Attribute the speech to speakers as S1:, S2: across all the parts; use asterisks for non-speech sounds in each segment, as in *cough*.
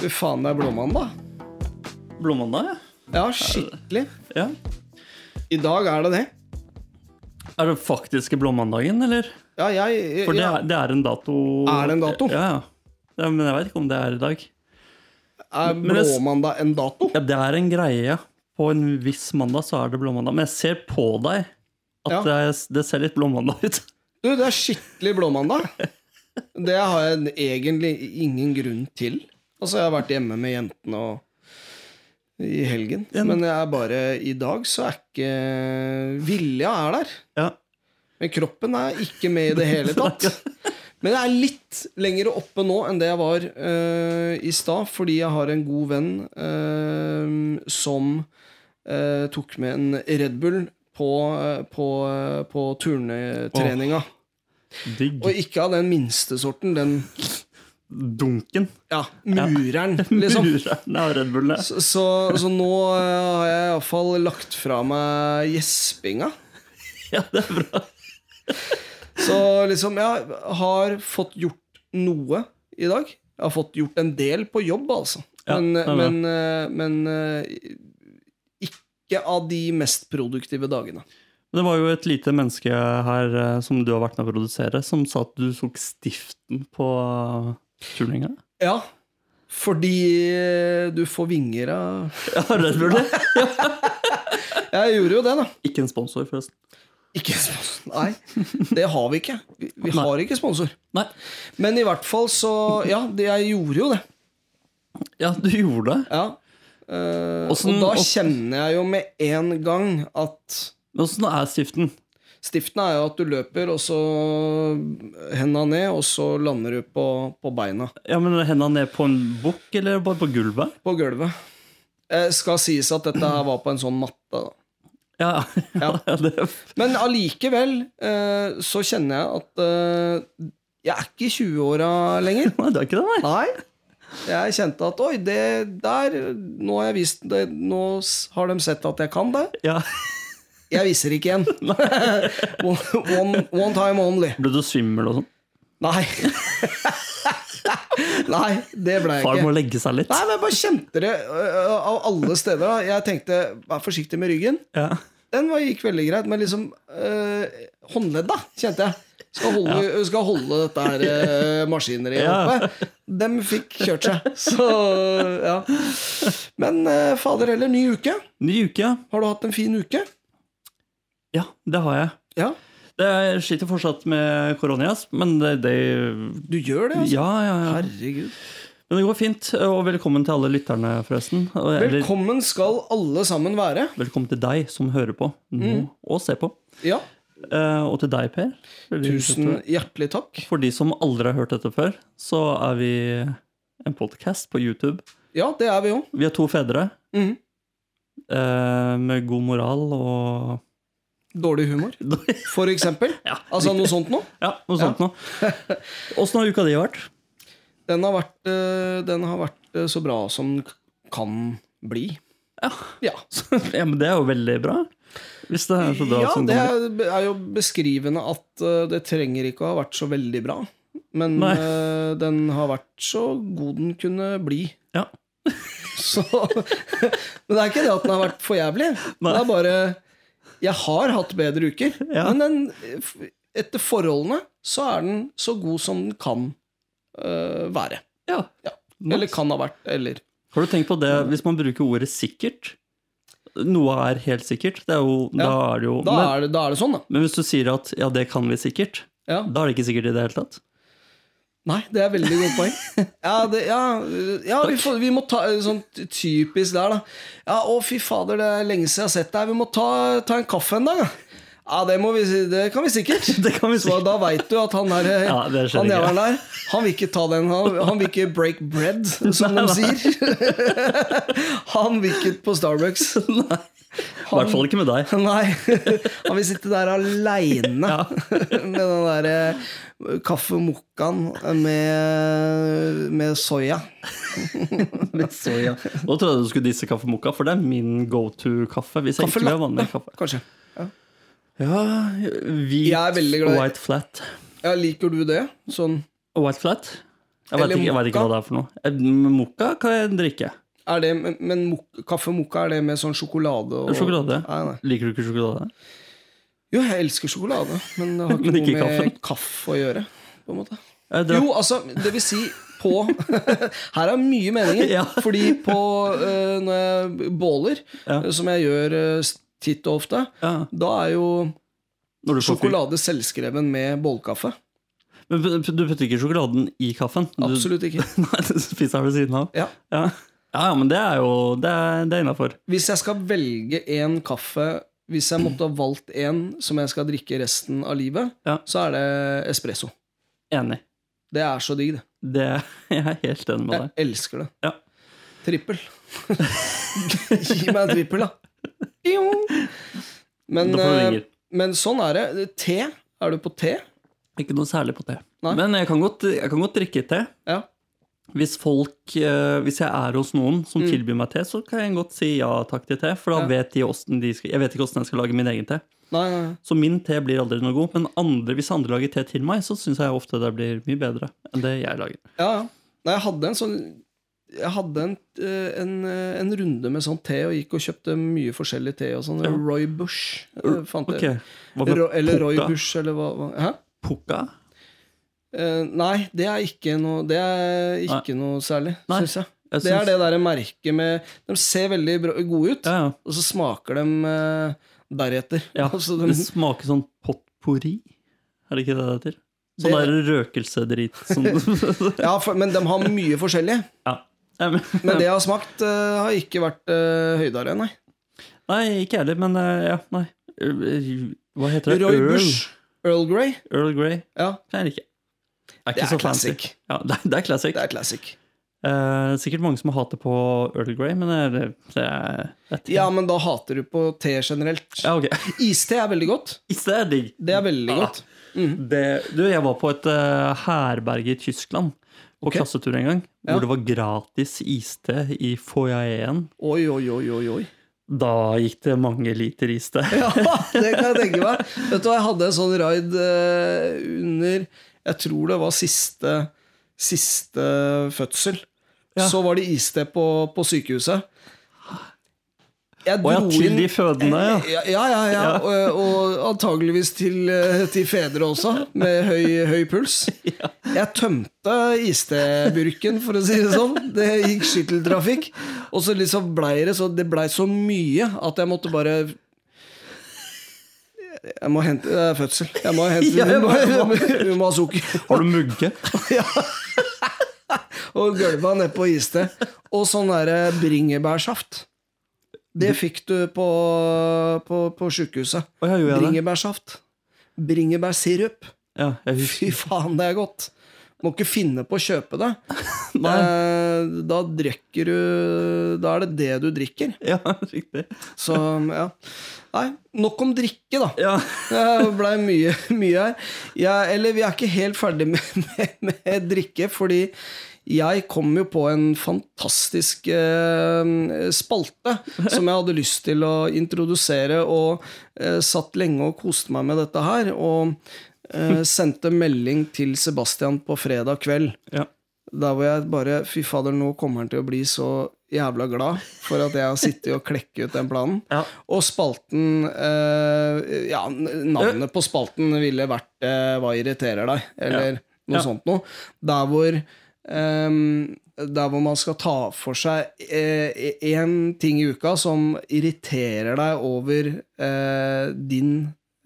S1: Fy faen, det er blåmandag.
S2: Blåmandag,
S1: Ja, skikkelig.
S2: ja. ja.
S1: I dag er det det.
S2: Er det faktiske blåmandagen, eller?
S1: Ja, jeg, jeg,
S2: For det
S1: ja.
S2: er, det er en dato
S1: Er det en dato?
S2: Ja, ja. ja. Men jeg veit ikke om det er i dag.
S1: Er
S2: men det-
S1: blåmandag en dato?
S2: Ja, det er en greie. ja. På en viss mandag så er det blåmandag. Men jeg ser på deg at
S1: Ja.
S2: det, er, det ser litt blåmandag ut.
S1: Du, det er skikkelig blåmandag. Det har jeg egentlig ingen grunn til. Altså, jeg har vært hjemme med jentene og i helgen. Men jeg er bare I dag så er ikke Vilja er der.
S2: Ja.
S1: Men kroppen er ikke med i det hele tatt. Men jeg er litt lenger oppe nå enn det jeg var eh, i stad, fordi jeg har en god venn eh, som eh, tok med en Red Bull på, eh, på, eh, på turnetreninga.
S2: Digg.
S1: Og ikke av den minste sorten. Den
S2: Dunken.
S1: ja, mureren, liksom.
S2: Murerne av Red Bull. ja.
S1: Så, så, så nå eh, har jeg iallfall lagt fra meg gjespinga.
S2: *laughs* Ja, det er bra.
S1: Så liksom, jeg har fått gjort noe i dag. Jeg har fått gjort en del på jobb, altså.
S2: Ja,
S1: men,
S2: det er bra.
S1: men, eh, men eh, ikke av de mest produktive dagene.
S2: Det var jo et lite menneske her eh, som du har vært med å produsere, som sa at du tok stiften på eh,
S1: *laughs*
S2: turninga.
S1: Ja, fordi eh, du får vinger av
S2: Ja, Red Bull. ja.
S1: Jeg gjorde jo det, da.
S2: Ikke en sponsor, forresten.
S1: Ikke sponsor. Nei, det har vi ikke. Vi, vi
S2: Nei.
S1: har ikke sponsor.
S2: Nei.
S1: Men i hvert fall så Ja, det- jeg gjorde jo det.
S2: Ja, du gjorde det.
S1: Ja. Eh,
S2: Åssen-
S1: og da
S2: ås-
S1: kjenner jeg jo med en gang at
S2: Men åssen er stiften?
S1: Stiften er jo at du løper, og så henda ned, og så lander du på, på beina.
S2: Ja, men Henda ned på en bukk, eller bare på gulvet?
S1: På gulvet. Eh, skal sies at dette her var på en sånn matte, da.
S2: Ja, *laughs* ja.
S1: Ja.
S2: det
S1: Men allikevel eh, så kjenner jeg at eh, jeg er ikke i 20-åra lenger.
S2: Nei, det er ikke det, nei.
S1: Nei. Jeg kjente at oi, det der Nå har jeg vist det, Nå s- har de sett at jeg kan det.
S2: Ja.
S1: Jeg viser ikke
S2: *laughs*
S1: igjen. one, one, one time only.
S2: Ble du svimmel og sånn? *laughs*
S1: Nei. Nei, det ble jeg
S2: Far må
S1: ikke.
S2: legge seg litt.
S1: Nei, men jeg bare kjente det ø, ø, av alle steder. da. Jeg tenkte vær forsiktig med ryggen.
S2: Ja.
S1: Den var, gikk veldig greit, men liksom øh, håndledda, kjente jeg. Skal holde, skal holde dette her øh, maskineriet
S2: Ja.
S1: oppe. Dem fikk kjørt
S2: *laughs*
S1: seg. Så ja. Men øh, fader heller, ny uke.
S2: Ny uke, ja.
S1: Har du hatt en fin uke?
S2: Ja, det har jeg.
S1: Ja,
S2: Det jeg sliter fortsatt med korona, ass, men det, det
S1: du gjør det, altså.
S2: Ja, ja, ja.
S1: Herregud.
S2: Men det går fint. Og velkommen til alle lytterne, forresten. Og- Eller
S1: Velkommen skal alle sammen være.
S2: velkommen til deg som hører på nå og ser på.
S1: Ja.
S2: Eh, og til deg, Per. Veldig hyggelig
S1: Tusen
S2: at
S1: hjertelig takk.
S2: du- For de som aldri har hørt dette før, så er vi en podkast på YouTube.
S1: Ja, det er vi jo.
S2: Vi er to fedre
S1: Mhm.
S2: eh, med god moral og *laughs*
S1: Dårlig humor, for eksempel.
S2: Ja,
S1: Altså noe sånt noe.
S2: ja noe sånt noe. Åssen har uka di vært? *laughs*
S1: Den har vært, øh, den har vært øh, så bra som den kan bli.
S2: Ja.
S1: Ja.
S2: *laughs* ja, men det er jo veldig bra. Hvis det er så bra
S1: ja,
S2: som
S1: det
S2: det er.
S1: er, er jo beskrivende at eh, det trenger ikke å ha vært så veldig bra. Men
S2: Nei.
S1: eh, den har vært så god den kunne bli.
S2: Ja.
S1: *laughs* Så Men det er ikke det at den har vært for jævlig.
S2: Nei.
S1: Det er bare Jeg har hatt bedre uker,
S2: Ja.
S1: men den, eh, f- etter forholdene så er den så god som den kan eh, være.
S2: Ja.
S1: Ja. Eller kan ha vært. Eller
S2: Har du tenkt på det, hvis man bruker ordet sikkert Noe er helt sikkert, det er jo, da
S1: Ja,
S2: er det jo
S1: da
S2: men,
S1: er, det, da er det sånn, da.
S2: men hvis du sier at ja, det kan vi sikkert,
S1: Ja.
S2: da er det ikke sikkert i det hele tatt. *laughs*
S1: Nei, det er veldig godt poeng. Ja, det, ja, ja vi, får, vi må ta sånn typisk der, da. Ja, å, fy fader, det er lenge siden jeg har sett deg. Vi må ta, ta en kaffe en dag, da. Ja, det, må vi, si- det kan vi sikkert.
S2: *laughs* Det kan vi si.
S1: Så da veit du at han der,
S2: *laughs* Ja, det skjer
S1: han
S2: ikke.
S1: jævelen der, han vil ikke ta den. Han, han vil ikke break bread, som
S2: Nei,
S1: de sier. *laughs* Han vil ikke på Starbucks.
S2: Nei. I hvert fall ikke med deg.
S1: Nei, han vil sitte der aleine
S2: Ja.
S1: *laughs* med den derre kaffemokkaen med, med soya.
S2: Så, ja. Nå trodde jeg du skulle disse kaffemokka, for det er min go to-kaffe. Hvis jeg
S1: Kaffe
S2: ikke vil ha vanlig kaffe.
S1: Kanskje.
S2: Ja, hvit,
S1: Jeg er veldig glad i-
S2: white flat.
S1: Ja, liker du det? Sånn
S2: White flat? Jeg vet,
S1: Eller
S2: ikke, jeg vet ikke
S1: mokka.
S2: hva det er for noe. Eh, men Mokka kan jeg drikke.
S1: Er det, men men mok- kaffe mokka, er det med sånn sjokolade og
S2: Sjokolade.
S1: Nei, nei.
S2: Liker du ikke sjokolade?
S1: Jo, jeg elsker sjokolade, men det har
S2: Men
S1: ikke,
S2: ikke
S1: noe med kaffe å gjøre. På en måte.
S2: Jeg drakk-
S1: Jo, altså, det vil si på *laughs* Her er mye meninger. *laughs*
S2: Ja.
S1: Fordi på eh, når jeg båler,
S2: Ja.
S1: eh, som jeg gjør eh, titt og ofte,
S2: ja.
S1: da er jo
S2: Når du får fyr.
S1: sjokolade selvskreven med bålkaffe.
S2: Men p- p- du putter ikke sjokoladen i kaffen? Du,
S1: Absolutt ikke.
S2: *laughs* Nei, du spiser den ved siden av?
S1: Ja.
S2: Ja, ja, ja men det er jo Det er, det er innafor.
S1: Hvis jeg skal velge en kaffe Hvis jeg måtte ha valgt en som jeg skal drikke resten av livet,
S2: Ja.
S1: så er det espresso.
S2: Enig.
S1: Det er så digg, det.
S2: Det, jeg er *laughs* helt enig med
S1: Jeg
S2: deg.
S1: elsker det.
S2: Ja.
S1: Trippel. *laughs* Gi meg en trippel, da. Pjong. Men,
S2: Da får du
S1: eh,
S2: ringer.
S1: men sånn er det. Te. Er du på te?
S2: Ikke noe særlig på te.
S1: eh, Nei.
S2: Men jeg kan godt, jeg kan godt drikke te.
S1: Ja.
S2: Hvis, folk, eh, hvis jeg er hos noen som
S1: Mm.
S2: tilbyr meg te, så kan jeg godt si ja takk til te. For da
S1: Ja.
S2: vet de hvordan de skal Jeg vet ikke åssen jeg skal lage min egen te.
S1: Nei, nei, nei.
S2: Så min te blir aldri noe god. Men andre, hvis andre lager te til meg, så syns jeg ofte det blir mye bedre enn det jeg lager.
S1: Ja, ja. Nei, jeg hadde en sånn jeg hadde en, eh, en, eh, en runde med sånn te og gikk og kjøpte mye forskjellig te. og sånn.
S2: Ja.
S1: Roy Bush eh, fant
S2: Ok,
S1: jeg.
S2: Hva med
S1: Ro, eller Roy
S2: pukka?
S1: Bush, eller hva, hva? Hæ?
S2: Pukka?
S1: Eh, nei, det er ikke noe, det er ikke noe særlig,
S2: Nei.
S1: syns jeg.
S2: Jeg
S1: Det er
S2: syns-
S1: det derre merket med De ser veldig bra- gode ut,
S2: Ja, ja.
S1: og så smaker de eh, deretter. *laughs*
S2: Ja,
S1: Altså, de,
S2: det *laughs* smaker sånn potpourri. Er det ikke det det heter? Sånn
S1: Det- *laughs*
S2: der røkelsedrit. Sånn.
S1: ja, for, men de har mye forskjellig.
S2: ja. Nei, men-
S1: Men det jeg har smakt, eh, har ikke vært eh, høydere, nei.
S2: Nei, ikke jeg heller, men eh, ja, nei. Eh, Hva heter det?
S1: Roy
S2: Earl-
S1: Bush, Earl Grey,
S2: Earl Grey.
S1: ja,
S2: Det er det ikke. Det er
S1: det
S2: ikke
S1: er
S2: så fancy.
S1: classic.
S2: Ja, det, er- det er classic.
S1: Det er classic.
S2: Eh, sikkert mange som hater på Earl Grey, men det er, det er, det er
S1: Ja, men da hater du på te generelt.
S2: ja, Ah. ok. *laughs*
S1: Iste er veldig godt.
S2: Ikke det er digg.
S1: Det er veldig godt.
S2: Det, du, jeg var på et eh, herberge i Tyskland på
S1: Ok.
S2: klassetur en gang, hvor
S1: Ja.
S2: det var gratis iste i foajeen.
S1: Oi, oi, oi, oi, oi.
S2: Da gikk det mange liter
S1: *laughs*
S2: iste. *laughs*
S1: Ja, det kan jeg tenke meg. Vet du hva, Jeg hadde en sånn raid eh, under Jeg tror det var siste, siste fødsel.
S2: Ja.
S1: Så var det iste på, på sykehuset. Jeg
S2: Å ja,
S1: dro
S2: til
S1: inn-
S2: de fødende, *laughs* ja.
S1: ja, ja, ja, ja.
S2: Ja.
S1: Og, og antageligvis til, eh, til fedre også, med høy, høy puls. Jeg tømte isteburken, for å si det sånn. Det gikk skytteltrafikk. Og så liksom blei det så, det blei så mye at jeg måtte bare jeg må hente Det er fødsel. Jeg må hente,
S2: Ja, jeg
S1: vi, må,
S2: må- jeg
S1: vi må ha sukker.
S2: Har du mugge?
S1: Og gølva nedpå iste. Og sånn derre bringebærsaft. Det fikk du på, på, på sjukehuset.
S2: Å, ja, gjorde jeg det?
S1: Bringebærsaft. Bringebærsirup. *laughs*
S2: Ja, jeg
S1: Fy
S2: husker. *laughs*
S1: faen, det er godt. Må ikke finne på å kjøpe det.
S2: Nei.
S1: Eh, Da drikker du Da er det det du drikker.
S2: Ja, riktig.
S1: Så ja. Nei, nok om drikke, da.
S2: Ja.
S1: Det blei mye, mye her. Jeg, eller vi er ikke helt ferdig med, med, med drikke, fordi jeg kom jo på en fantastisk eh, spalte som jeg hadde lyst til å introdusere, og eh, satt lenge og koste meg med dette her. Og eh, sendte melding til Sebastian på fredag kveld.
S2: Ja.
S1: Der hvor jeg bare Fy fader, nå kommer han til å bli så jævla glad for at jeg har sittet og klekket ut den planen.
S2: Ja.
S1: Og spalten eh, Ja, n-
S2: Eh.
S1: navnet på spalten ville vært eh, Hva irriterer deg? Eller noe
S2: Ja.
S1: sånt noe. Der hvor ehm, der hvor man skal ta for seg én ting i uka som irriterer deg over eh, din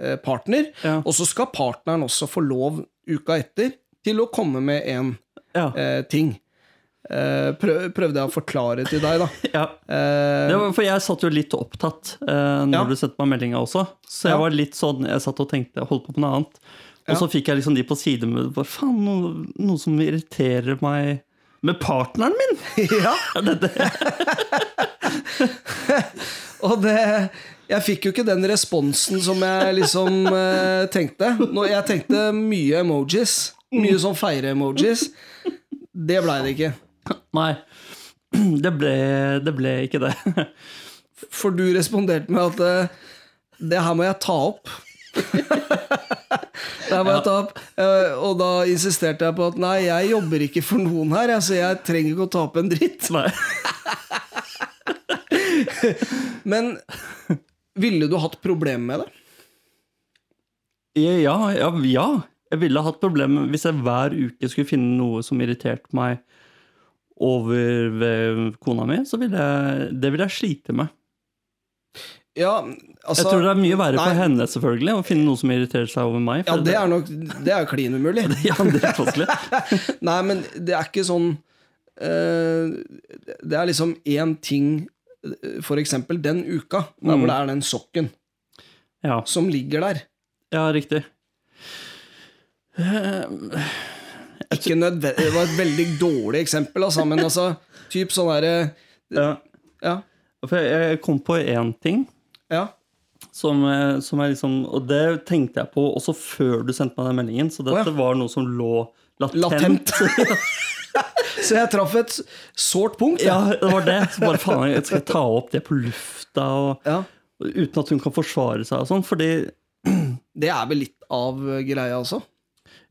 S1: eh, partner,
S2: Ja.
S1: og så skal partneren også få lov uka etter til å komme med en
S2: Ja.
S1: eh, ting. Eh, prøv, prøvde jeg å forklare til
S2: *laughs*
S1: deg, da.
S2: ja.
S1: Eh,
S2: Det var, for jeg satt jo litt opptatt eh, når
S1: Ja.
S2: du sendte meg meldinga også. Så jeg
S1: Ja.
S2: var litt sånn, jeg satt og tenkte, holdt på med noe annet. Og
S1: Ja.
S2: så fikk jeg liksom de på side med bare, Faen, noe, noe som irriterer meg med partneren min!
S1: *laughs* ja.
S2: *laughs*
S1: Og det Jeg fikk jo ikke den responsen som jeg
S2: *laughs*
S1: liksom eh, tenkte. Nå, jeg tenkte mye emojis. Mye sånn feire-emojis. Det blei det ikke.
S2: Nei. *clears throat* Det ble, det ble ikke det. *laughs*
S1: For du *laughs* responderte med at eh, det her må jeg ta opp. Der var jeg tap. Eh, Og da insisterte jeg på at nei, jeg jobber ikke for noen her, jeg, så jeg trenger ikke å tape en dritt.
S2: Nei.
S1: Men ville du hatt problemer med det?
S2: Ja, ja, ja. Jeg ville hatt problemer hvis jeg hver uke skulle finne noe som irriterte meg over ved kona mi. Så ville jeg, det ville jeg slite med.
S1: Ja,
S2: Jeg
S1: altså
S2: tror det er mye verre for
S1: nei.
S2: henne selvfølgelig å finne noe som irriterer seg over meg.
S1: Ja,
S2: for
S1: det er nok Det er jo klin umulig.
S2: *laughs* ja, det er koselig.
S1: Nei, men det er ikke sånn eh, Det er liksom én ting eh, For eksempel den uka, der hvor det er den sokken
S2: Ja,
S1: som ligger der.
S2: ja riktig.
S1: Ikke nødve- det var et veldig dårlig eksempel, altså, men altså Typ sånn derre
S2: Ja,
S1: Ja.
S2: for jeg jeg kom på én ting
S1: ja.
S2: som, eh, som er liksom Og det tenkte jeg på også før du sendte meg den meldingen, så
S1: Å,
S2: dette
S1: ja.
S2: var noe som lå latent.
S1: Latent. *laughs* Så jeg traff et sårt punkt. jeg.
S2: *laughs* ja, det var det. Så bare faen, jeg skal ta opp det på lufta og,
S1: Ja.
S2: og uten at hun kan forsvare seg og sånn, fordi
S1: Det er vel litt av eh, greia også.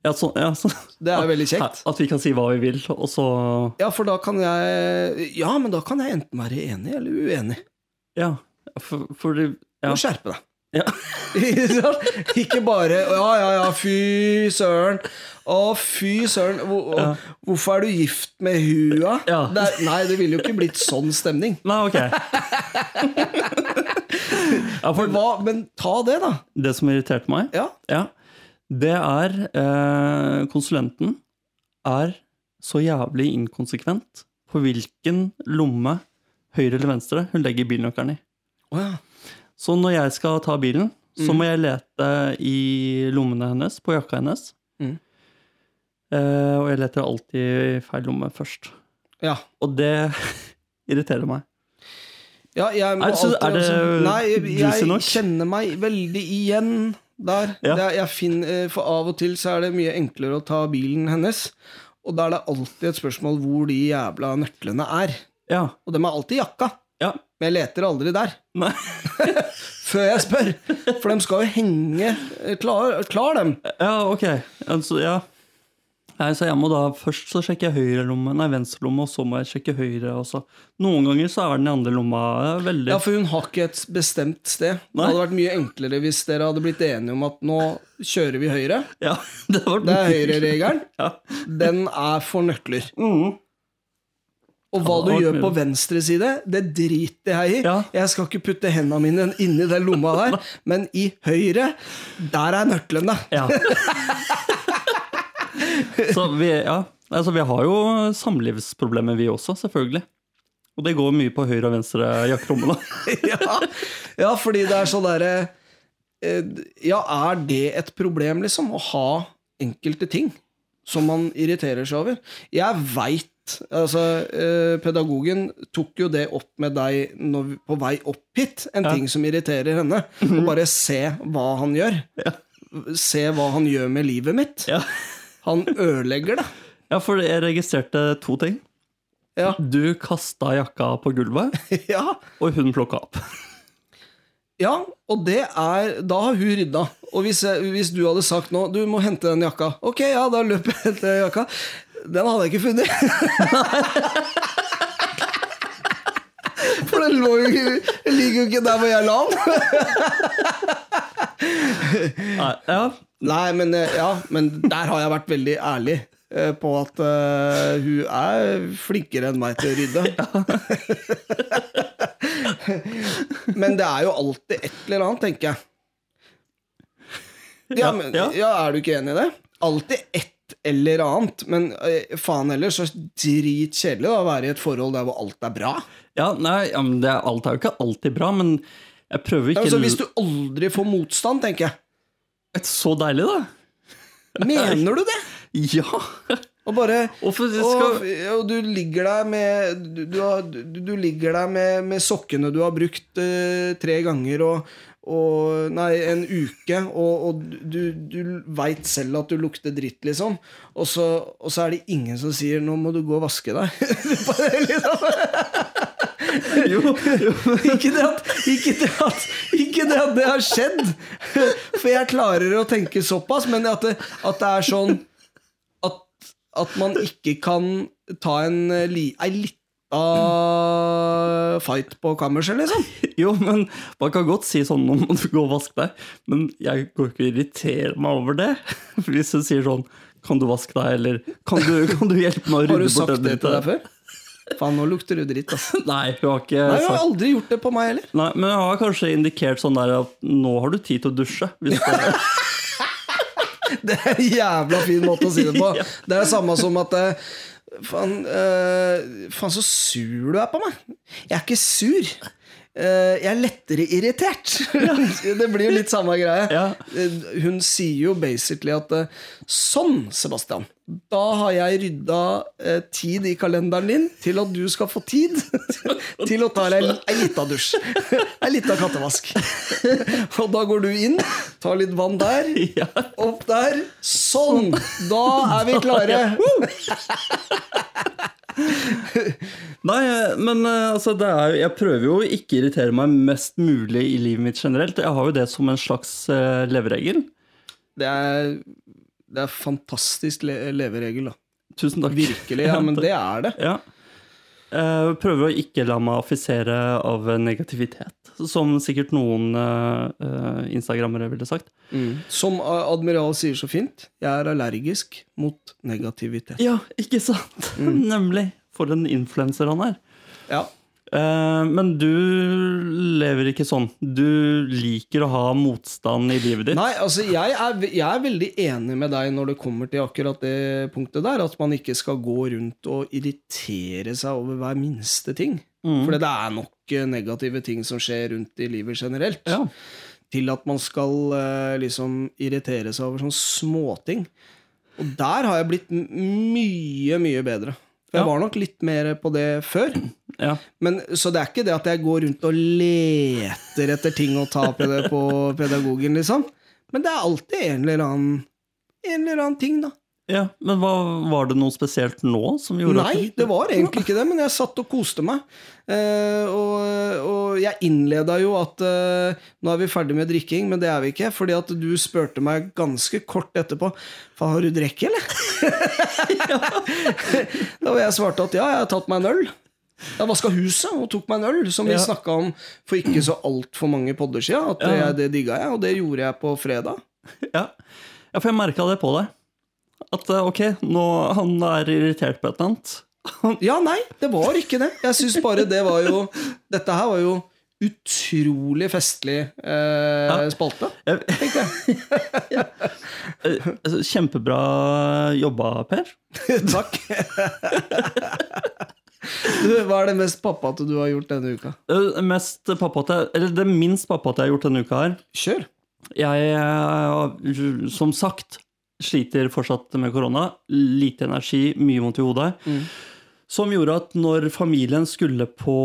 S2: ja, så, ja, så,
S1: Det er jo veldig kjekt.
S2: At vi kan si hva vi vil, og så
S1: Ja, for da kan jeg Ja, men da kan jeg enten være enig eller uenig.
S2: Ja. For, fordi- ja.
S1: Og skjerpe deg.
S2: Ja.
S1: ikke bare Ja, ja, ja, fy søren. Å, fy søren. Hvor,
S2: Ja.
S1: Hvorfor er du gift med hua?
S2: Ja.
S1: Det er- nei, det ville jo ikke blitt sånn stemning.
S2: Nei, ok. ja, for
S1: Hva, men ta det, da.
S2: det som irriterte meg,
S1: Ja.
S2: ja, det er eh, Konsulenten er så jævlig inkonsekvent på hvilken lomme, høyre eller venstre, hun legger bilnøkkelen i.
S1: Å, ja.
S2: Så når jeg skal ta bilen, så må jeg lete i lommene hennes, på jakka hennes.
S1: Mm.
S2: Eh, og jeg leter alltid i feil lomme først.
S1: ja.
S2: Og det *laughs* irriterer meg.
S1: Ja, jeg må
S2: Er det så-
S1: alltid
S2: er det
S1: også- Nei, jeg,
S2: juicy nok?
S1: jeg kjenner meg veldig igjen der.
S2: Ja.
S1: Det er- jeg finner, eh, for av og til så er det mye enklere å ta bilen hennes. Og da er det alltid et spørsmål hvor de jævla nøklene er.
S2: Ja.
S1: Og dem er alltid i jakka.
S2: Ja.
S1: Men jeg leter aldri der.
S2: Nei.
S1: Før jeg spør! For dem skal jo henge eh, klar, klar dem.
S2: Ja, ok. Altså, ja. Nei, så jeg må da Først så sjekker jeg høyre lomme, nei, venstre lomme, og så må jeg sjekke høyre. Og så. Noen ganger så er den i andre lomma eh, veldig
S1: Ja, for hun har ikke et bestemt sted. Det
S2: Nei.
S1: hadde vært mye enklere hvis dere hadde blitt enige om at nå kjører vi høyre.
S2: Ja, *laughs* det, var
S1: Det er høyreregelen.
S2: *laughs* Ja.
S1: Den er for nøkler.
S2: Mm.
S1: Og hva
S2: Ja,
S1: du
S2: det var
S1: gjør på
S2: mulig.
S1: venstre side, det driter jeg i.
S2: Ja.
S1: Jeg skal ikke putte hendene mine inni den lomma der, men i høyre, der er nøklene. *laughs*
S2: Ja. så vi, ja. Altså, vi har jo samlivsproblemer, vi også, selvfølgelig. Og det går mye på høyre og venstre
S1: *laughs*
S2: jakkerommene.
S1: ja. ja, fordi det er sånn derre eh, Ja, er det et problem, liksom? Å ha enkelte ting som man irriterer seg over? Jeg veit Altså, eh, pedagogen tok jo det opp med deg når, vi- på vei opp hit, en ting som irriterer henne. Og bare se hva han gjør. Se hva han gjør med livet mitt.
S2: Ja.
S1: Han ødelegger det. *laughs*
S2: ja, for jeg registrerte to ting.
S1: Ja.
S2: Du kasta jakka på gulvet,
S1: ja.
S2: og hun plukka
S1: *laughs*
S2: opp.
S1: Ja, og det er Da har hun rydda. Og hvis, jeg, hvis du hadde sagt nå Du må hente den jakka. Ok, ja, da løper jeg og henter den jakka. Den hadde jeg ikke funnet. For den lå jo ikke- den ligger jo ikke der hvor jeg la den.
S2: Nei, ja.
S1: Nei, men, eh, ja, men der har jeg vært veldig ærlig eh, på at eh, hun er flinkere enn meg til å
S2: *laughs*
S1: rydde. men det er jo alltid et eller annet, tenker jeg. Ja,
S2: Ja,
S1: men,
S2: ja.
S1: ja, er du ikke enig i det? Alltid et eller annet. Men eh, faen heller, så dritkjedelig da, å være i et forhold der hvor alt er bra.
S2: Ja, nei, ja, men det, er- alt er jo ikke alltid bra, men jeg prøver ikke
S1: Altså, hvis du aldri får motstand, tenker jeg.
S2: Så deilig, da!
S1: Mener du det?
S2: Ja!
S1: Og bare
S2: *laughs* Hvorfor
S1: Og,
S2: *laughs* skal
S1: og du ligger der med Du, du, har- du, du ligger der med, med sokkene du har brukt eh, tre ganger og, og Nei, en uke, og, og du, du veit selv at du lukter dritt, liksom. Og så, og *laughs* så er det ingen som sier 'nå må du gå og vaske deg'. Bare liksom. Jo, ikke, det at, ikke, det at, ikke det at det har skjedd, for jeg klarer å tenke såpass, men at det, at det er sånn at, at man ikke kan ta en eh, li, ei lita fight på kammerset, liksom.
S2: Jo, men man kan godt si sånn nå må du gå og vaske deg, men jeg går ikke og irriterer meg over det. *laughs* Hvis hun sier sånn kan du vaske deg, eller kan du, kan du hjelpe meg å
S1: *laughs* Har
S2: rydde
S1: du
S2: bort
S1: sagt det
S2: drittet?»
S1: til deg før? Faen, nå lukter du dritt, ass.
S2: *laughs* Nei, hun har ikke
S1: Nei, jeg har
S2: sagt
S1: aldri gjort det på meg heller.
S2: Nei, men hun har kanskje indikert sånn der at nå har du tid til å dusje.
S1: *laughs*
S2: Hvis det,
S1: Det er en jævla fin måte å si det på. Det er det samme som at eh, Faen, eh, faen så sur du er på meg. Jeg er ikke sur. Eh, jeg er lettere irritert. *laughs* det blir jo litt samme greie.
S2: Ja.
S1: Eh, Hun sier jo basically at eh, Sånn, Sebastian. Da har jeg rydda eh, tid i kalenderen din til at du skal få tid *laughs* til å ta deg ei lita dusj. *laughs* Ei lita kattevask. *laughs* Og da går du inn, tar litt vann der,
S2: *laughs* ja.
S1: opp der. Sånn! Da er vi
S2: *laughs*
S1: klare.
S2: Nei, men eh, altså, det er, jo- jeg prøver jo å ikke irritere meg mest mulig i livet mitt generelt. Jeg har jo det som en slags eh, leveregel.
S1: Det er, det er fantastisk le leveregel, da.
S2: Tusen takk.
S1: Virkelig. Ja, men det er det.
S2: *laughs* Ja. Eh, prøver å ikke la meg affisere av negativitet, som sikkert noen eh, eh, instagrammere ville sagt.
S1: Som eh, Admiral sier så fint, jeg er allergisk mot negativitet.
S2: Ja, ikke sant? *laughs* Nemlig. For en influenser han er.
S1: Ja.
S2: Eh, men du lever ikke sånn. Du liker å ha motstand i livet ditt.
S1: Nei, altså jeg er, ve- jeg er veldig enig med deg når det kommer til akkurat det punktet der, at man ikke skal gå rundt og irritere seg over hver minste ting.
S2: Mm.
S1: For det er nok eh, negative ting som skjer rundt i livet generelt.
S2: Ja.
S1: Til at man skal eh, liksom irritere seg over sånne småting. Og der har jeg blitt m- mye, mye bedre. For jeg
S2: Ja.
S1: var nok litt mer på det før.
S2: Ja.
S1: Men, så det er ikke det at jeg går rundt og leter etter ting å ta ped- på pedagogen, liksom. Men det er alltid en eller annen, en eller annen ting, da.
S2: ja. Men hva, var det noe spesielt nå som gjorde
S1: Nei,
S2: at
S1: det var egentlig ikke det, men jeg satt og koste meg. Eh, og, og jeg innleda jo at eh, nå er vi ferdig med drikking, men det er vi ikke. Fordi at du spurte meg ganske kort etterpå Faen, har du drukket, eller? *laughs* da var jeg svarte at ja, jeg har tatt meg en øl. Jeg vaska huset og tok meg en øl, som vi
S2: Ja.
S1: snakket snakka om for ikke så altfor mange podder sia. At
S2: Ja.
S1: jeg, det digga jeg, og det gjorde jeg på fredag.
S2: Ja. ja, for jeg merka det på deg. At eh, ok, nå, han er irritert på et eller annet.
S1: Ja, nei, det var ikke det. Jeg syns bare det var jo Dette her var jo utrolig festlig eh, spalte.
S2: Jeg, *laughs*
S1: Tenkte jeg.
S2: Eh, altså, Kjempebra jobba, Per.
S1: Takk. *laughs* du, hva er det mest pappate du har gjort denne uka?
S2: Eh, Mest pappate, eller det minst pappate jeg har gjort denne uka her.
S1: Kjør.
S2: Jeg, eh, som sagt, sliter fortsatt med korona. Lite energi, mye vondt i hodet.
S1: Mm.
S2: Som gjorde at når familien skulle på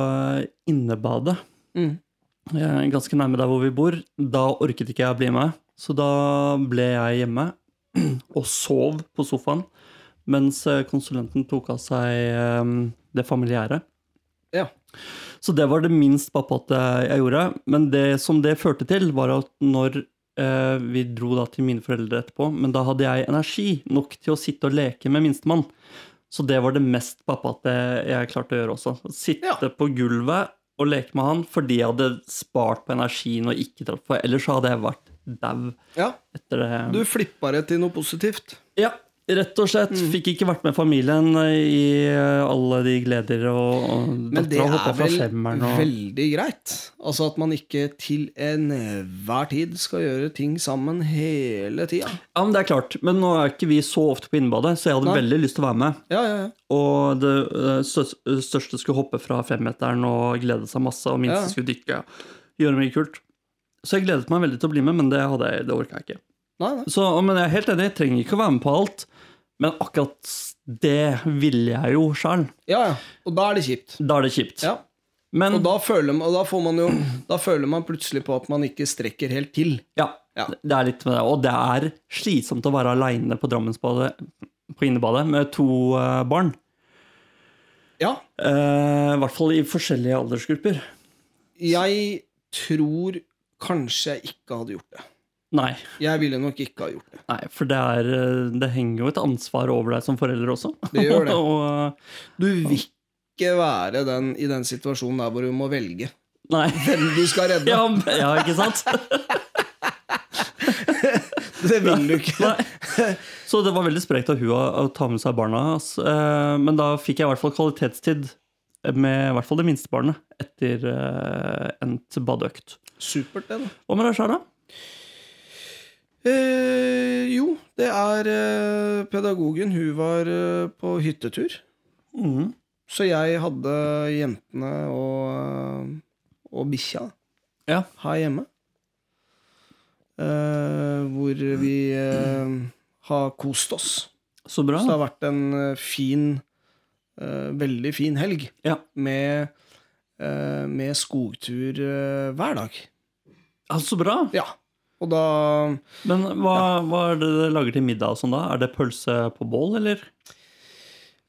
S2: eh, innebadet,
S1: Mm.
S2: eh, ganske nærme der hvor vi bor, da orket ikke jeg å bli med. Så da ble jeg hjemme *clears throat* og sov på sofaen mens eh, konsulenten tok av seg eh, det familiære.
S1: Ja.
S2: Så det var det minst pappate jeg gjorde. Men det som det førte til, var at når eh, vi dro da til mine foreldre etterpå, men da hadde jeg energi nok til å sitte og leke med minstemann. Så det var det mest pappate jeg klarte å gjøre også. Sitte
S1: Ja.
S2: på gulvet og leke med han fordi jeg hadde spart på energien og ikke dratt på. Ellers så hadde jeg vært dau
S1: Ja,
S2: etter det.
S1: du flippa det til noe positivt.
S2: Ja, rett og slett.
S1: Mm.
S2: Fikk ikke vært med familien i eh, alle de gleder og, og
S1: Men det
S2: dattera
S1: er
S2: hoppa fra
S1: vel
S2: femmeren og
S1: veldig greit? Altså at man ikke til enhver tid skal gjøre ting sammen hele tida.
S2: Ja, men det er klart. Men nå er ikke vi så ofte på innebadet, så jeg hadde
S1: Nei.
S2: veldig lyst til å være med.
S1: Ja, ja, ja.
S2: Og det eh, støs- største skulle hoppe fra femmeteren og glede seg masse, og minste
S1: Ja.
S2: skulle dykke. Gjøre mye kult. Så jeg gledet meg veldig til å bli med, men det, hadde jeg- det orka jeg ikke.
S1: Nei, nei.
S2: Så, men jeg er helt enig, jeg trenger ikke å være med på alt. Men akkurat det ville jeg jo sjøl.
S1: ja, ja. Og da er det kjipt.
S2: Da er det kjipt.
S1: Ja.
S2: Men
S1: Og da føler, man, og da, får man jo, da føler man plutselig på at man ikke strekker helt til.
S2: Ja,
S1: Ja.
S2: det er litt med det. Og det er slitsomt å være aleine på Drammensbadet, på innebadet, med to eh, barn.
S1: Ja,
S2: Eh, I hvert fall i forskjellige aldersgrupper.
S1: jeg tror kanskje jeg ikke hadde gjort det.
S2: Nei,
S1: Jeg ville nok ikke ha gjort det.
S2: nei for det, er, eh, det henger jo et ansvar over deg som forelder også.
S1: Det gjør det.
S2: *laughs* Og, eh,
S1: Du vil ikke være den i den situasjonen der hvor du må velge *laughs*
S2: nei.
S1: hvem du skal redde.
S2: Ja, ja, ikke
S1: *laughs*
S2: sant?
S1: Det vil du ikke.
S2: Nei. Så det var veldig sprekt av hun å å ta med seg barna. ass. Eh, Men da fikk jeg i hvert fall kvalitetstid med i hvert fall det minste barnet etter eh, endt badeøkt.
S1: Supert, det, da.
S2: Hva med deg, Sara?
S1: Eh, jo, det er eh, pedagogen. Hun var eh, på hyttetur.
S2: Mhm.
S1: Så jeg hadde jentene og, eh, og bikkja
S2: Ja.
S1: her hjemme. Eh, hvor vi eh, har kost oss.
S2: Så bra.
S1: Så det har vært en eh, fin, eh, veldig fin helg
S2: Ja.
S1: med, eh, med skogtur eh, hver dag.
S2: Ja, så bra.
S1: Ja. Og da
S2: Men hva, hva er det dere lager til middag og sånn da? Er det pølse på bål, eller?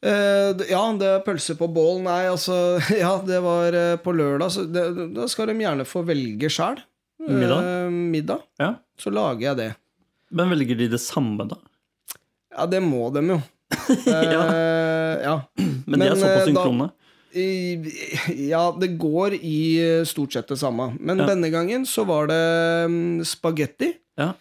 S1: Eh, d- ja, det er pølse på bål. Nei, altså *laughs* Ja, det var eh, på lørdag. Så det, da skal de gjerne få velge sjæl.
S2: Middag?
S1: middag.
S2: Ja.
S1: Så lager jeg det.
S2: Men velger de det samme, da?
S1: Ja, det må de jo. Eh, ja.
S2: Men, de
S1: Men,
S2: er såpass
S1: eh, da-
S2: synkrone.
S1: I, ja, det går i eh, stort sett det samme. Men
S2: Ja.
S1: denne gangen så var det mm, spagetti.
S2: Ja.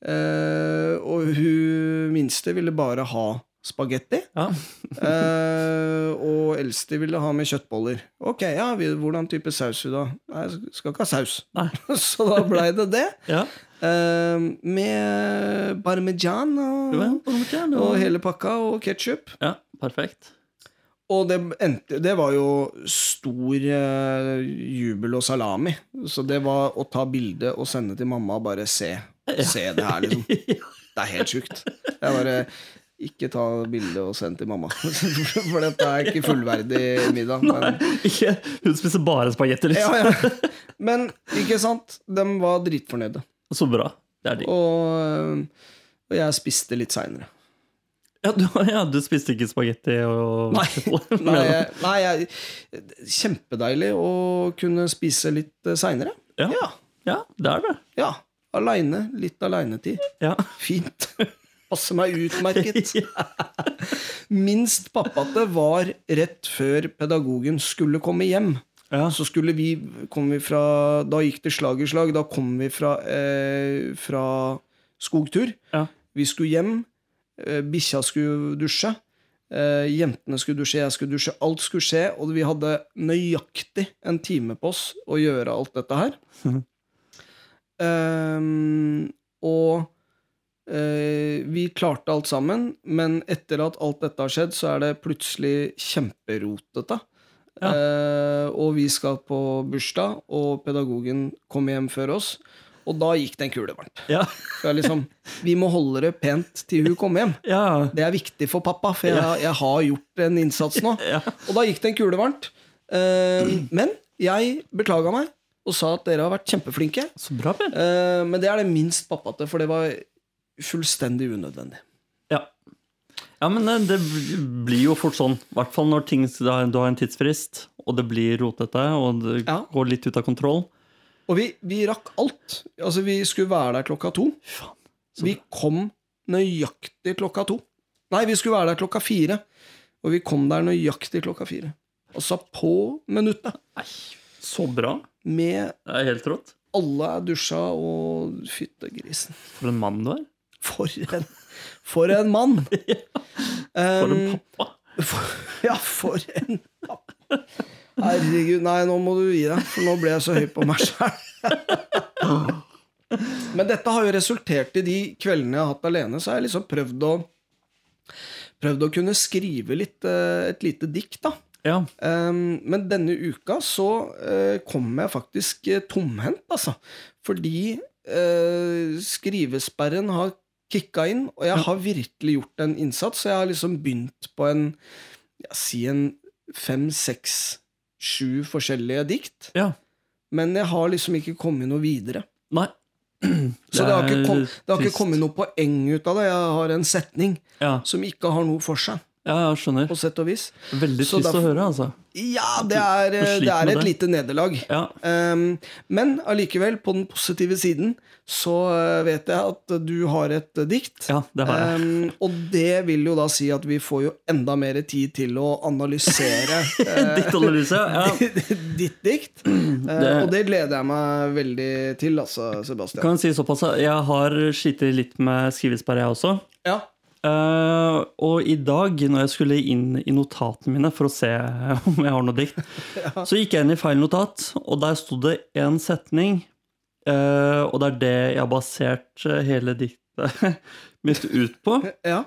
S1: Eh, og hun minste ville bare ha spagetti.
S2: Ja.
S1: Eh, og eldste ville ha med kjøttboller. Ok, ja, vi- hvordan type saus vil du ha? Nei, jeg skal ikke ha saus. *laughs*
S2: Nei.
S1: Så da blei det det.
S2: ja.
S1: Eh, med parmesan og, og hele pakka og ketsjup.
S2: ja, perfekt. *laughs*
S1: Og det, endte, det var jo stor eh, jubel og salami. Så det var å ta bilde og sende til mamma og bare se. Se det her, liksom. Det er helt sjukt. Jeg bare Ikke ta bilde og send til mamma. *laughs* For dette er ikke fullverdig middag. Men,
S2: Ikke, hun spiser bare spagetti,
S1: ja,
S2: liksom.
S1: ja. men ikke sant? De var dritfornøyde.
S2: *laughs* Så bra. Det er digg.
S1: Og, og jeg spiste litt seinere.
S2: Ja, du, *laughs* ja, du spiste ikke spagetti og *laughs*
S1: Nei,
S2: kjøttboller?
S1: Nei, jeg, nei jeg, kjempedeilig å kunne spise litt eh, seinere.
S2: Ja.
S1: Ja.
S2: Ja, det er det.
S1: ja. Aleine. Litt aleinetid.
S2: Ja.
S1: Fint. Passer meg utmerket.
S2: Ja.
S1: Minst pappate var rett før pedagogen skulle komme hjem.
S2: Ja.
S1: Så skulle vi, kom vi fra, da gikk det slag i slag. Da kom vi fra, eh, fra skogtur.
S2: Ja.
S1: Vi skulle hjem. Eh, Bikkja skulle dusje. Eh, jentene skulle dusje, jeg skulle dusje. Alt skulle skje, og vi hadde nøyaktig en time på oss å gjøre alt dette her.
S2: Mhm.
S1: Ehm, og eh, vi klarte alt sammen, men etter at alt dette har skjedd, så er det plutselig kjemperotete.
S2: Ja.
S1: Eh, og vi skal på bursdag, og pedagogen kommer hjem før oss. Og da gikk det en kule varmt.
S2: Ja.
S1: For jeg liksom, vi må holde det pent til hun kommer hjem.
S2: Ja.
S1: Det er viktig for pappa, for jeg, jeg har gjort en innsats nå.
S2: Ja.
S1: Og da gikk det en kule varmt. Eh, men jeg beklaga meg og sa at dere har vært kjempeflinke.
S2: Så bra, Per.
S1: Eh, men det er det minst pappate, for det var fullstendig unødvendig.
S2: Ja. ja, men eh, det bl- blir jo fort sånn. I hvert fall når ting, du har du har en tidsfrist, og det blir rotete, og det
S1: Ja.
S2: går litt ut av kontroll.
S1: Og vi, vi rakk alt. Altså, vi skulle være der klokka to.
S2: Faen. Så
S1: Vi kom nøyaktig klokka to. Nei, vi skulle være der klokka fire. Og vi kom der nøyaktig klokka fire. Altså på minuttet.
S2: Nei, så bra.
S1: Med
S2: Det er helt rått.
S1: alle er dusja og fyttegrisen.
S2: For en mann du er.
S1: For en, for en
S2: *laughs*
S1: mann!
S2: For
S1: Um,
S2: en pappa.
S1: For, *laughs* ja, for en Herregud, nei, nå må du gi deg, for nå ble jeg så høy på meg sjøl. Men dette har jo resultert i de kveldene jeg har hatt alene, så har jeg liksom prøvd å Prøvd å kunne skrive litt, eh, et lite dikt, da.
S2: Ja.
S1: Um, men denne uka så eh, kom jeg faktisk eh, tomhendt, altså. Fordi eh, skrivesperren har kicka inn, og jeg har virkelig gjort en innsats. Så jeg har liksom begynt på en ja, si en fem, seks, sju forskjellige dikt.
S2: ja.
S1: Men jeg har liksom ikke kommet noe videre.
S2: Nei.
S1: *clears throat* Så det har ikke, kom,
S2: er
S1: det har ikke
S2: trist.
S1: kommet noe poeng ut av det. Jeg har en setning
S2: Ja.
S1: som ikke har noe for seg.
S2: Ja, jeg skjønner.
S1: på sett og vis.
S2: Veldig
S1: Så
S2: trist å
S1: derfor-
S2: høre, altså.
S1: Ja, det er,
S2: Du sliter
S1: det er
S2: med
S1: et
S2: det.
S1: lite nederlag.
S2: Ja.
S1: Ehm, men allikevel, på den positive siden, så eh, vet jeg at du har et eh, dikt.
S2: ja, det har jeg.
S1: Ehm, og det vil jo da si at vi får jo enda mer tid til å analysere
S2: *laughs*
S1: eh,
S2: Ditt analyse,
S1: *laughs*
S2: ja.
S1: ditt dikt. Eh,
S2: Det-
S1: og det gleder jeg meg veldig til, altså, Sebastian.
S2: Kan jeg si såpass, at jeg har slitt litt med skrivesperre, jeg også.
S1: Ja.
S2: Eh, og i dag, når jeg skulle inn i notatene mine for å se *laughs* om jeg har noe dikt,
S1: *laughs*
S2: så gikk jeg inn i feil notat, og der sto det én setning. eh, og det er det jeg har basert eh, hele diktet *laughs* mitt ut på.
S1: ja.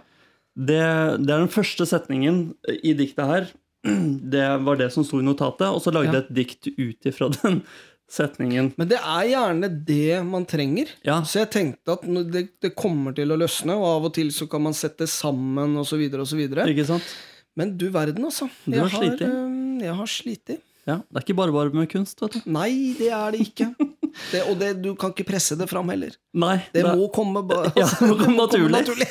S2: Det, det er den første setningen i diktet her. *clears throat* Det var det som sto i notatet, og så lagde
S1: Ja.
S2: jeg et dikt ut ifra *laughs* den setningen.
S1: Men det er gjerne det man trenger.
S2: Ja.
S1: Så jeg tenkte at nå- det, det kommer til å løsne, og av og til så kan man sette sammen osv. videre
S2: Ikke sant?
S1: Men du verden, altså.
S2: Du har slitt.
S1: øhm, jeg har slitt.
S2: Ja, Det er ikke bare bare med kunst, vet du.
S1: Nei, det er det
S2: *laughs*
S1: ikke. Det, og det, du kan ikke presse det fram heller.
S2: Nei,
S1: Det
S2: det-
S1: må komme ba-
S2: *laughs* Ja,
S1: *laughs*
S2: det må komme naturlig.
S1: naturlig.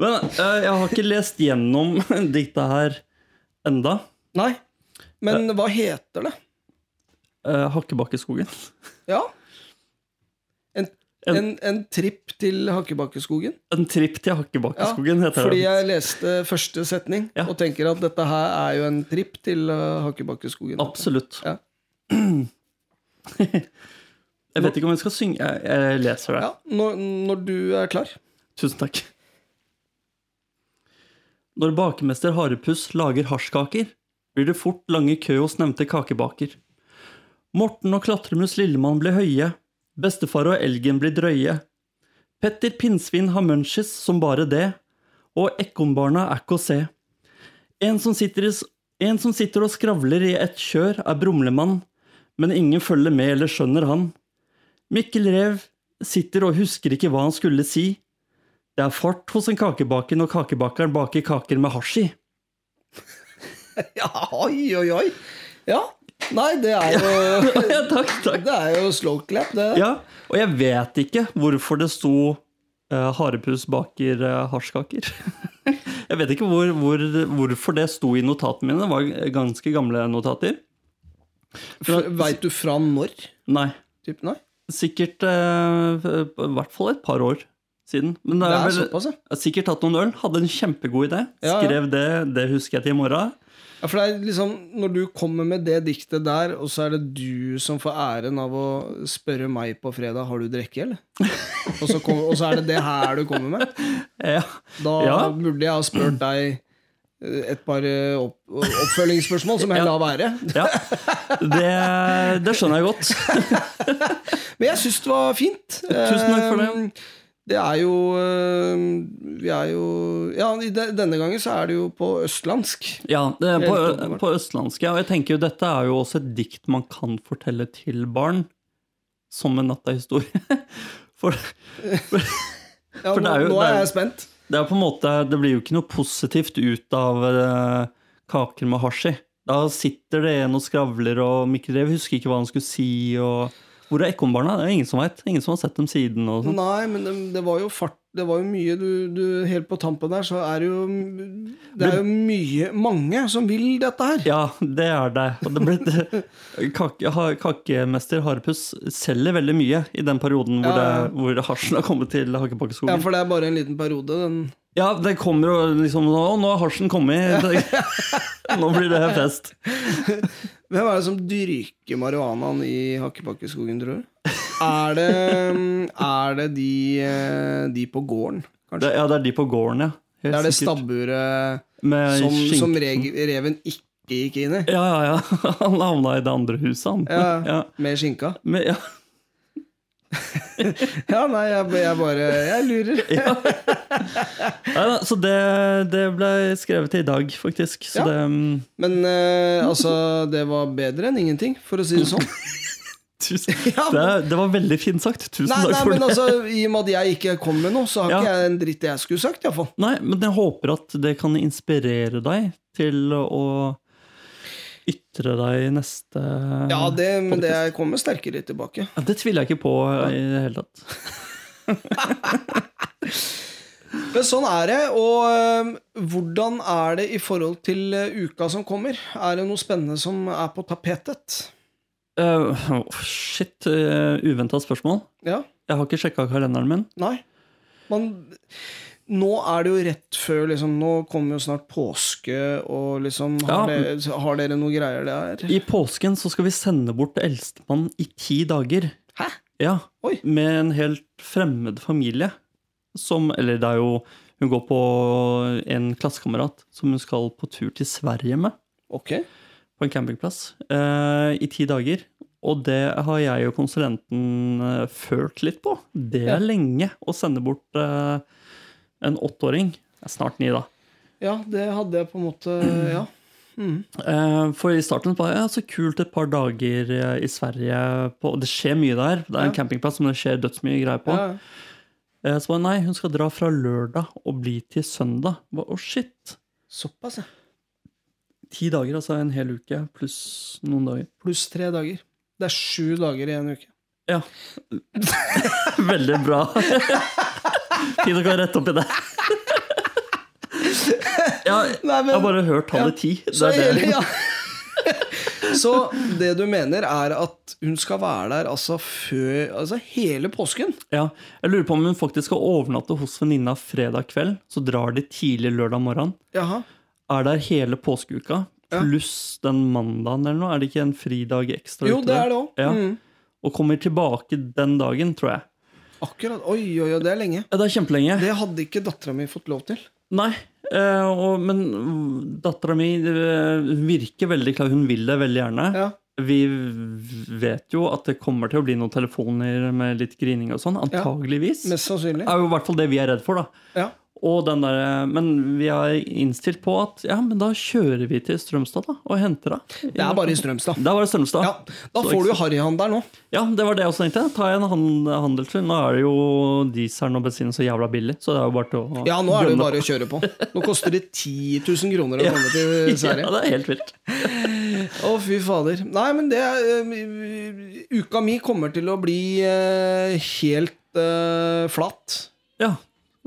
S2: Men eh, jeg har ikke lest gjennom *laughs* diktet her enda.
S1: Nei. Men hva heter det?
S2: Eh, Hakkebakkeskogen.
S1: Ja. En,
S2: En-
S1: en, en tripp til Hakkebakkeskogen?
S2: En tripp til Hakkebakkeskogen heter
S1: Fordi
S2: det.
S1: jeg leste første setning
S2: Ja.
S1: og tenker at dette her er jo en tripp til uh, Hakkebakkeskogen.
S2: Absolutt.
S1: Ja.
S2: *clears throat* Jeg vet ikke om jeg skal synge. Jeg, jeg leser det.
S1: Ja, når, når du er klar. *laughs*
S2: Tusen takk. Når bakemester Harepuss lager hasjkaker, blir det fort lange kø hos nevnte kakebaker. Morten og klatremus Lillemann blir høye, bestefar og elgen blir drøye. Petter Pinnsvin har munchies som bare det, og ekornbarna er ikke å se. En som, sitter i, s- en som sitter og skravler i et kjør, er brumlemann, men ingen følger med eller skjønner han. Mikkel Rev sitter og husker ikke hva han skulle si. Det er fart hos en kakebaker når kakebakeren baker kaker med hasj i.
S1: Ja, oi, oi, oi. Ja. Nei, det
S2: *laughs*
S1: er jo
S2: *laughs* Ja, takk, takk.
S1: Det er jo slow clap, det.
S2: Ja, og jeg vet ikke hvorfor det sto eh, Harepus baker eh, hasjkaker. *laughs* jeg vet ikke hvor, hvor, hvorfor det sto i notatene mine. Det var ganske gamle notater.
S1: Veit du fra når?
S2: Nei.
S1: Typ, nei?
S2: Sikkert eh, i hvert fall et par år siden. Men det
S1: Det
S2: er,
S1: er
S2: vel,
S1: såpass, ja.
S2: sikkert tatt noen øl. Hadde en kjempegod idé.
S1: Ja, ja.
S2: Skrev det, det husker jeg til i morgen.
S1: Ja, for det er liksom, Når du kommer med det diktet der, og så er det du som får æren av å spørre meg på fredag har du drikke, eller? Og så, kom, og så er det det her du kommer med?
S2: Ja.
S1: Da
S2: Ja.
S1: burde jeg ha spurt deg eh, et par eh, opp, oppfølgingsspørsmål, som jeg la være.
S2: ja. Det, det skjønner jeg godt.
S1: Men jeg syns det var fint.
S2: Tusen takk for det.
S1: Eh, Det er jo eh, Vi er jo Ja, i de- denne gangen så er det jo på østlandsk.
S2: Ja, det er på,
S1: Helt åpenbart.
S2: på østlandsk. Ja. Og jeg tenker jo dette er jo også et dikt man kan fortelle til barn. Som en nattahistorie. *laughs* For
S1: Ja,
S2: For det
S1: nå,
S2: er jo-
S1: nå
S2: det er
S1: er
S2: jo-
S1: jeg spent.
S2: det er på en måte Det blir jo ikke noe positivt ut av eh, kaker med hasj i. Da sitter det en og skravler, og Mikkel Rev husker ikke hva han skulle si. og... Hvor er ekornbarna? Det er ingen som veit. Ingen som har sett dem siden. og sånn.
S1: Nei, men det, det var jo fart Det var jo mye du, du Helt på tampen der, så er det jo Det er jo mye Mange som vil dette her.
S2: Ja, det er det. Og det ble, eh, kake, ha, kakemester Harepuss selger veldig mye i den perioden
S1: Ja,
S2: hvor,
S1: ja.
S2: det- hvor hasjen har kommet til Hakkepakkeskogen.
S1: Ja, for det er bare en liten periode, den.
S2: Ja, det kommer jo liksom Å, nå har
S1: *laughs*
S2: hasjen kommet. nå blir det fest.
S1: Hvem er det som dyrker marihuanaen i Hakkebakkeskogen, tror du? Er det,
S2: *laughs*
S1: er det de, eh, de på gården, kanskje?
S2: Det, ja, det er de på gården, ja. Helt
S1: Det er det
S2: sikkert.
S1: stabburet
S2: Med
S1: som,
S2: skinken.
S1: som reg, reven ikke gikk inn i,
S2: Ja, ja, ja. *laughs* Han havna i det andre huset, han. *laughs*
S1: Ja. med skinka.
S2: Men, ja.
S1: Ja, nei, jeg, jeg bare Jeg
S2: *laughs*
S1: lurer.
S2: Nei, da, så det, det ble skrevet i dag, faktisk. Så
S1: Ja.
S2: det
S1: *laughs*
S2: mm,
S1: Men eh, altså, det var bedre enn ingenting, for å si
S2: *laughs*
S1: det sånn.
S2: tusen,
S1: Ja,
S2: det, det var veldig fint sagt. Tusen
S1: Nei,
S2: takk
S1: nei
S2: for
S1: men
S2: det.
S1: altså, I og med at jeg ikke kom med noe, så har
S2: Ja.
S1: ikke jeg en dritt jeg skulle sagt. i hvert fall.
S2: Nei, men jeg håper at det kan inspirere deg til å ytre deg i neste
S1: Ja, det, Men det
S2: podcast.
S1: kommer sterkere tilbake.
S2: Ja, Det tviler jeg ikke på eh, i det hele tatt.
S1: Men sånn er det. Og øhm, hvordan er det i forhold til øh, uka som kommer? Er det noe spennende som er på tapetet?
S2: Eh, åh, shit, uh, uventa spørsmål.
S1: Ja?
S2: Jeg har ikke sjekka kalenderen min.
S1: Nei? Man nå er det jo rett før liksom, Nå kommer jo snart påske, og liksom Har,
S2: Ja.
S1: dere, har dere noe greier der?
S2: I påsken så skal vi sende bort eldstemann i ti dager.
S1: Hæ?
S2: Ja,
S1: Oi.
S2: Med en helt fremmed familie. Som Eller det er jo Hun går på en klassekamerat som hun skal på tur til Sverige med.
S1: Ok.
S2: På en campingplass. eh, I ti dager. Og det har jeg og konsulenten eh, følt litt på. Det
S1: Ja.
S2: er lenge å sende bort eh, en åtteåring. Det er Snart ni, da.
S1: Ja, det hadde jeg på en *clears throat* måte Ja. Mm.
S2: Eh, For i starten var det ja, så kult et par dager eh, i Sverige på, og Det skjer mye der. Det er en
S1: Ja.
S2: campingplass, men det skjer dødsmye greier på.
S1: Ja, ja.
S2: Eh, Så bare nei, hun skal dra fra lørdag og bli til søndag. Ba, Å, shit!
S1: Såpass, ja.
S2: Ti dager, altså en hel uke, pluss noen dager. *laughs*
S1: Pluss tre dager. Det er sju dager i en uke.
S2: Ja. Veldig bra. *laughs* Fint å kan rette opp i det. *laughs* ja,
S1: Nei,
S2: jeg har bare hørt tallet ti. Det
S1: Så,
S2: er det.
S1: hele, *laughs* ja. så det du mener er at hun skal være der altså før Altså hele påsken?
S2: Ja, jeg lurer på om hun faktisk skal overnatte hos venninna fredag kveld, så drar de tidlig lørdag morgen.
S1: Jaha.
S2: Er der hele påskeuka,
S1: Ja.
S2: pluss den mandagen eller noe? Er det ikke en fridag ekstra?
S1: Jo,
S2: utover?
S1: det er det òg.
S2: Ja.
S1: Mm.
S2: Og kommer tilbake den dagen, tror jeg.
S1: Akkurat. Oi, oi, oi, det er lenge.
S2: Ja, det er kjempelenge.
S1: Det hadde ikke dattera mi fått lov til.
S2: Nei, eh, og, men dattera mi virker veldig klar. Hun vil det veldig gjerne.
S1: Ja.
S2: Vi vet jo at det kommer til å bli noen telefoner med litt grining og sånn. Antageligvis.
S1: Mest sannsynlig.
S2: Det er jo i hvert fall det vi er redd for, da.
S1: Ja.
S2: Og den der, eh, men vi er innstilt på at ja, men da kjører vi til Strømstad da, og henter henne.
S1: Det er bare i Strømstad.
S2: Det er bare Strømstad.
S1: Ja. Da får du jo harryhandel nå.
S2: Ja, det var det jeg også tenkte. Ta en han- handelstur. Nå er det jo dieselen og bensinen så jævla billig, så det er jo bare til å
S1: Ja, nå er det jo
S2: gønne
S1: bare å kjøre på. Nå koster det 10 000 kroner å komme til Sverige.
S2: *laughs* Ja, det er helt vilt.
S1: Å, fy fader. Nei, men det eh, Uka mi kommer til å bli eh, helt eh, flat.
S2: Ja,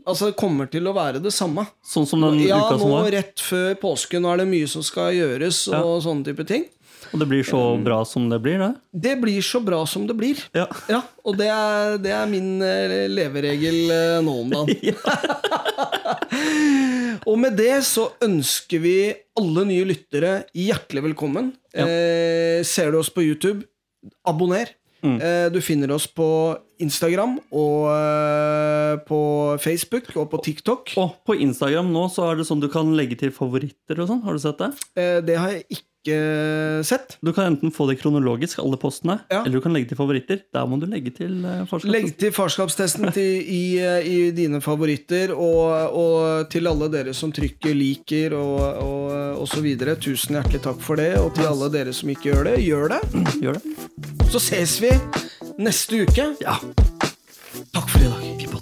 S1: Altså, det kommer til å være det samme.
S2: Sånn som den
S1: Ja,
S2: uka som
S1: nå
S2: var.
S1: rett før påske, nå er det mye som skal gjøres, og sånne type ting.
S2: Og det blir så bra som det blir, det.
S1: Det blir så bra som det blir.
S2: Ja.
S1: Ja, og det er, det er min eh, leveregel eh, nå om
S2: *laughs*
S1: dagen. *laughs* og med det så ønsker vi alle nye lyttere hjertelig velkommen.
S2: Ja.
S1: Eh, ser du oss på YouTube, abonner.
S2: Mm.
S1: Eh, du finner oss på Instagram og eh, på Facebook og på TikTok.
S2: Og på Instagram nå så er det sånn du kan legge til favoritter og sånn. Har du sett det?
S1: Eh, det har jeg ikke sett.
S2: Du kan enten få det kronologisk, alle postene,
S1: Ja.
S2: eller du kan legge til favoritter. Der må du legge til eh, forskjell.
S1: Legg til farskapstesten til, i, i dine favoritter, og, og til alle dere som trykker liker og, og, og så videre. Tusen hjertelig takk for det. Og til alle dere som ikke gjør det, gjør det.
S2: Gjør det.
S1: Så ses vi neste uke.
S2: Ja.
S1: Takk for i dag.